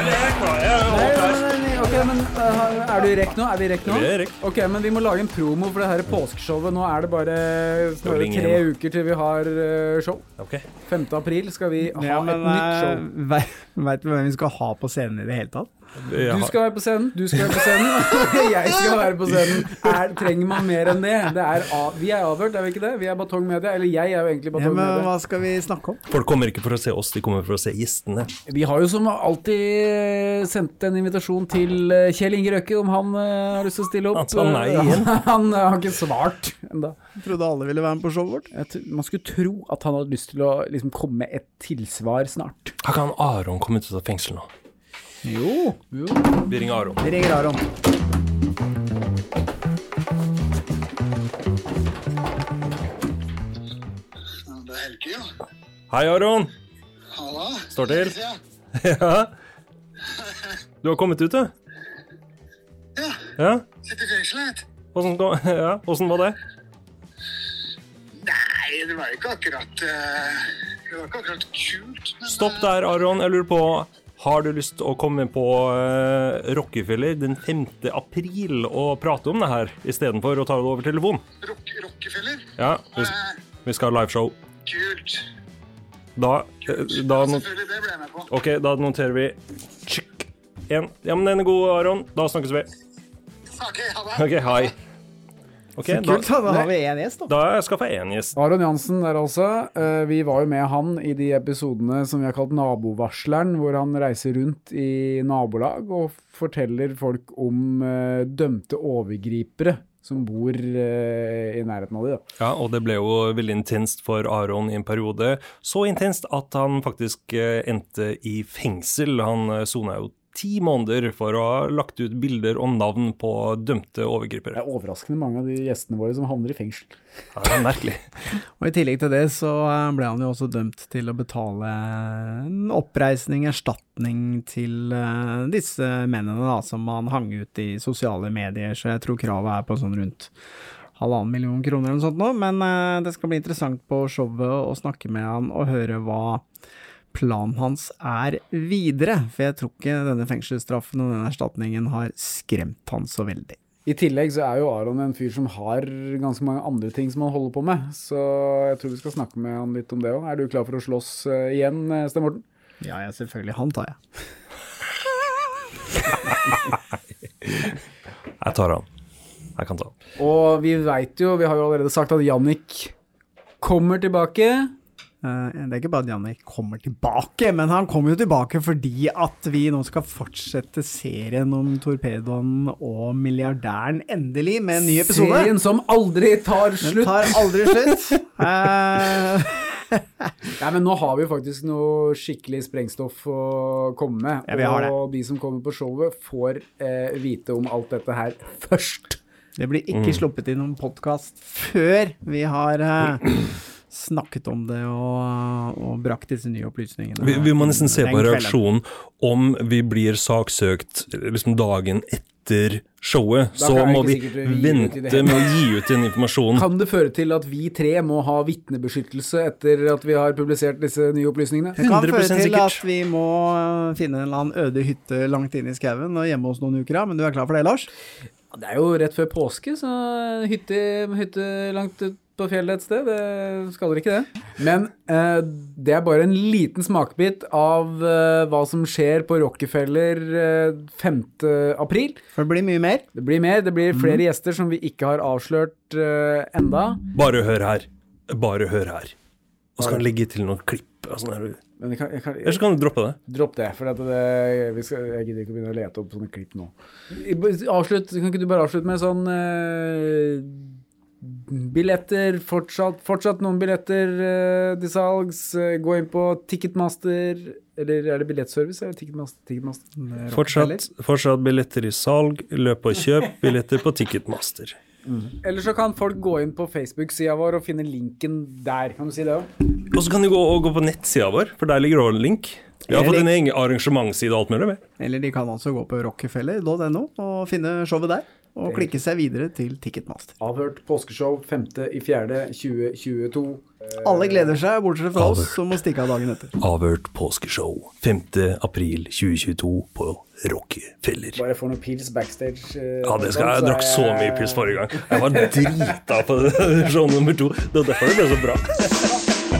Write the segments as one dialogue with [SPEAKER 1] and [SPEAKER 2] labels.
[SPEAKER 1] Nei, men, men, ok, men uh, Er du i rekk nå? Er vi i rekk nå?
[SPEAKER 2] Vi er i rekk.
[SPEAKER 1] Ok, men vi må lage en promo for det her påskeshowet. Nå er det bare snarere
[SPEAKER 2] ringe
[SPEAKER 1] tre
[SPEAKER 2] hjem.
[SPEAKER 1] uker til vi har uh, show.
[SPEAKER 2] Ok.
[SPEAKER 1] 5. april skal vi ha
[SPEAKER 3] Ja,
[SPEAKER 1] et
[SPEAKER 3] men eh,
[SPEAKER 1] nytt show.
[SPEAKER 3] Veit du hvem vi skal ha på scenen i det hele tatt?
[SPEAKER 1] Du skal være på scenen, du skal være på scenen, jeg skal være på scenen. Er, trenger man mer enn det? det er, av- vi er avhørt, er vi ikke det? Vi er Batong Media, eller jeg er jo egentlig
[SPEAKER 3] Ja,
[SPEAKER 1] Batong
[SPEAKER 3] men
[SPEAKER 1] Media.
[SPEAKER 3] hva skal vi snakke om?
[SPEAKER 2] Folk kommer ikke for å se oss, de kommer for å se gjestene.
[SPEAKER 1] Vi har jo som alltid eh, sendt en invitasjon til eh, Kjell Inge Røkke, om han eh, har lyst til å stille opp.
[SPEAKER 2] Han sa nei igjen.
[SPEAKER 1] Han eh, har ikke svart enda.
[SPEAKER 3] Jeg trodde alle ville være med på showet vårt.
[SPEAKER 1] Jeg tr- Man skulle tro at han hadde lyst til å liksom, komme med et tilsvar snart.
[SPEAKER 2] Har ikke han Aron kommet ut av fengsel nå?
[SPEAKER 3] Jo.
[SPEAKER 2] Vi ringer Aron.
[SPEAKER 3] Vi ringer Aron.
[SPEAKER 4] Det er Helge, ja.
[SPEAKER 2] Hei, Aron!
[SPEAKER 4] Halla.
[SPEAKER 2] Står til?
[SPEAKER 4] Ja.
[SPEAKER 2] Ja? Du har kommet ut, du?
[SPEAKER 4] Ja.
[SPEAKER 2] Ja?
[SPEAKER 4] Sitter i fengselet.
[SPEAKER 2] Åssen kom- ja, åssen var det?
[SPEAKER 4] Nei, det var ikke akkurat eh, Det var ikke akkurat kult. Men, eh,
[SPEAKER 2] Stopp der, Aron. Jeg lurer på har du lyst å komme på eh, Rockefeller den 5. april og prate om det her, istedenfor å ta det over telefon?
[SPEAKER 4] eh, Rock, Rockefeller?
[SPEAKER 2] Ja, vi,
[SPEAKER 4] Nei,
[SPEAKER 2] vi skal ha liveshow.
[SPEAKER 4] kult.
[SPEAKER 2] Da, eh, da
[SPEAKER 4] Ja,
[SPEAKER 2] no-
[SPEAKER 4] Selvfølgelig, det ble jeg med på.
[SPEAKER 2] OK, da noterer vi Tjukk. En. Ja, men den er god, Aron. Da snakkes vi.
[SPEAKER 4] OK, ha det.
[SPEAKER 2] OK, hei. OK, da,
[SPEAKER 3] Kult, da, da har vi én gjest, da.
[SPEAKER 2] da har jeg skaffa én gjest.
[SPEAKER 1] Aron Jansen der altså. Eh, Vi var jo med han i de episodene som vi har kalt Nabovarsleren, hvor han reiser rundt i nabolag og forteller folk om eh, dømte overgripere som bor eh, i nærheten av de. Da.
[SPEAKER 2] Ja, og det ble jo veldig intenst for Aron i en periode. Så intenst at han faktisk eh, endte i fengsel. Han eh, sona jo ti måneder for å ha lagt ut bilder og navn på dømte
[SPEAKER 1] Det
[SPEAKER 2] overgripere.
[SPEAKER 1] er overraskende mange av de gjestene våre som havner i fengsel.
[SPEAKER 2] Ja, det er merkelig.
[SPEAKER 3] Og I tillegg til det så eh, ble han jo også dømt til å betale en oppreisning, erstatning til eh, disse mennene da, som han hang ut i sosiale medier, så jeg tror kravet er på sånn rundt halvannen million kroner eller noe sånt nå, men eh, det skal bli interessant på showet å snakke med han og høre hva planen hans er videre, for jeg tror ikke denne fengselsstraffen og denne erstatningen har skremt han så veldig.
[SPEAKER 1] I tillegg så er jo Aron en fyr som har ganske mange andre ting som han holder på med, så jeg tror vi skal snakke med han litt om det òg. Er du klar for å slåss eh, igjen, eh, Sten Morten?
[SPEAKER 3] Ja, ja, selvfølgelig, han tar jeg.
[SPEAKER 2] Jeg tar han. Jeg kan ta han.
[SPEAKER 1] Og vi veit jo, vi har jo allerede sagt at Jannik kommer tilbake.
[SPEAKER 3] Eh, Det er ikke bare at Jannik kommer tilbake, men han kommer jo tilbake fordi at vi nå skal fortsette serien om torpedoen og milliardæren endelig med en ny episode.
[SPEAKER 1] Serien som aldri tar
[SPEAKER 3] Den
[SPEAKER 1] slutt.
[SPEAKER 3] tar aldri slutt. Eh,
[SPEAKER 1] Nei, men nå har vi jo faktisk noe skikkelig sprengstoff å komme med.
[SPEAKER 3] Ja, vi har det.
[SPEAKER 1] Og de som kommer på showet, får eh, vite om alt dette her først.
[SPEAKER 3] det blir
[SPEAKER 2] Mm.
[SPEAKER 3] ikke sluppet i noen podkast før vi har eh, snakket om det og, og brakt disse nye opplysningene.
[SPEAKER 2] Vi, vi må nesten se
[SPEAKER 3] Den
[SPEAKER 2] på
[SPEAKER 3] kvelden.
[SPEAKER 2] reaksjonen om vi blir saksøkt liksom dagen etter showet.
[SPEAKER 1] Da
[SPEAKER 2] Så
[SPEAKER 1] klarer jeg
[SPEAKER 2] må vi
[SPEAKER 1] ikke sikkert å gi ut i det
[SPEAKER 2] vente
[SPEAKER 1] hele
[SPEAKER 2] med å gi ut den informasjonen.
[SPEAKER 1] Kan det føre til at vi tre må ha vitnebeskyttelse etter at vi har publisert disse nye opplysningene?
[SPEAKER 3] Det kan føre
[SPEAKER 2] 100%
[SPEAKER 3] til
[SPEAKER 2] sikkert.
[SPEAKER 3] at vi må eh, finne en eller annen øde hytte langt inne i skauen og gjemme oss noen uker, ja. men du er klar for det, Lars?
[SPEAKER 1] Det er jo rett før påske, så hytte, hytte langt ut på fjellet et sted, det skader ikke det. Men eh, det er bare en liten smakebit av eh, hva som skjer på Rockefeller eh, 5. april.
[SPEAKER 3] For det blir mye mer.
[SPEAKER 1] Det blir mer, det blir flere gjester som vi ikke har avslørt eh, enda.
[SPEAKER 2] Bare hør her. Bare hør her. Og så kan jeg legge til noen klipp. og sånn her.
[SPEAKER 1] Men jeg kan, jeg kan,
[SPEAKER 2] Eller så kan du droppe det.
[SPEAKER 1] dropp det, for at det, vi skal, jeg gidder ikke å begynne å lete opp sånne klipp nå. I- Avslutt, kan ikke du bare avslutte med sånn eh, Billetter, fortsatt, fortsatt noen billetter eh, til salgs. Eh, Gå inn på Ticketmaster, eller er det Billettservice? Eller Ticketmaster? Ticketmaster. Det er rart, eller?
[SPEAKER 2] Mm, Fortsatt, fortsatt billetter i salg. Løp og kjøp billetter på Ticketmaster.
[SPEAKER 1] Eller så kan folk gå inn på Facebook-sida vår og finne linken der. Kan du si det òg?
[SPEAKER 2] Og så kan du gå, og gå på nettsida vår, for der ligger det også en link. Vi har fått en egen arrangementsside og alt mulig. med.
[SPEAKER 3] Eller de kan også gå på rockefeller.no og finne showet der, og klikke seg videre til Ticketmaster.
[SPEAKER 1] Avhørt påskeshow 5.4.2022.
[SPEAKER 3] Alle gleder seg, bortsett fra oss, som må stikke av dagen etter.
[SPEAKER 2] Avhørt påskeshow 5. april 2022 på Rockefeller.
[SPEAKER 1] Bare får noe pils backstage. eh,
[SPEAKER 2] Ja, det skal jeg.
[SPEAKER 1] sånn,
[SPEAKER 2] Jeg drakk så
[SPEAKER 1] er
[SPEAKER 2] mye
[SPEAKER 1] jeg-
[SPEAKER 2] pils forrige gang. Jeg var drita på show nummer to. Det var derfor det ble så bra.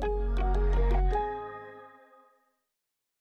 [SPEAKER 5] da.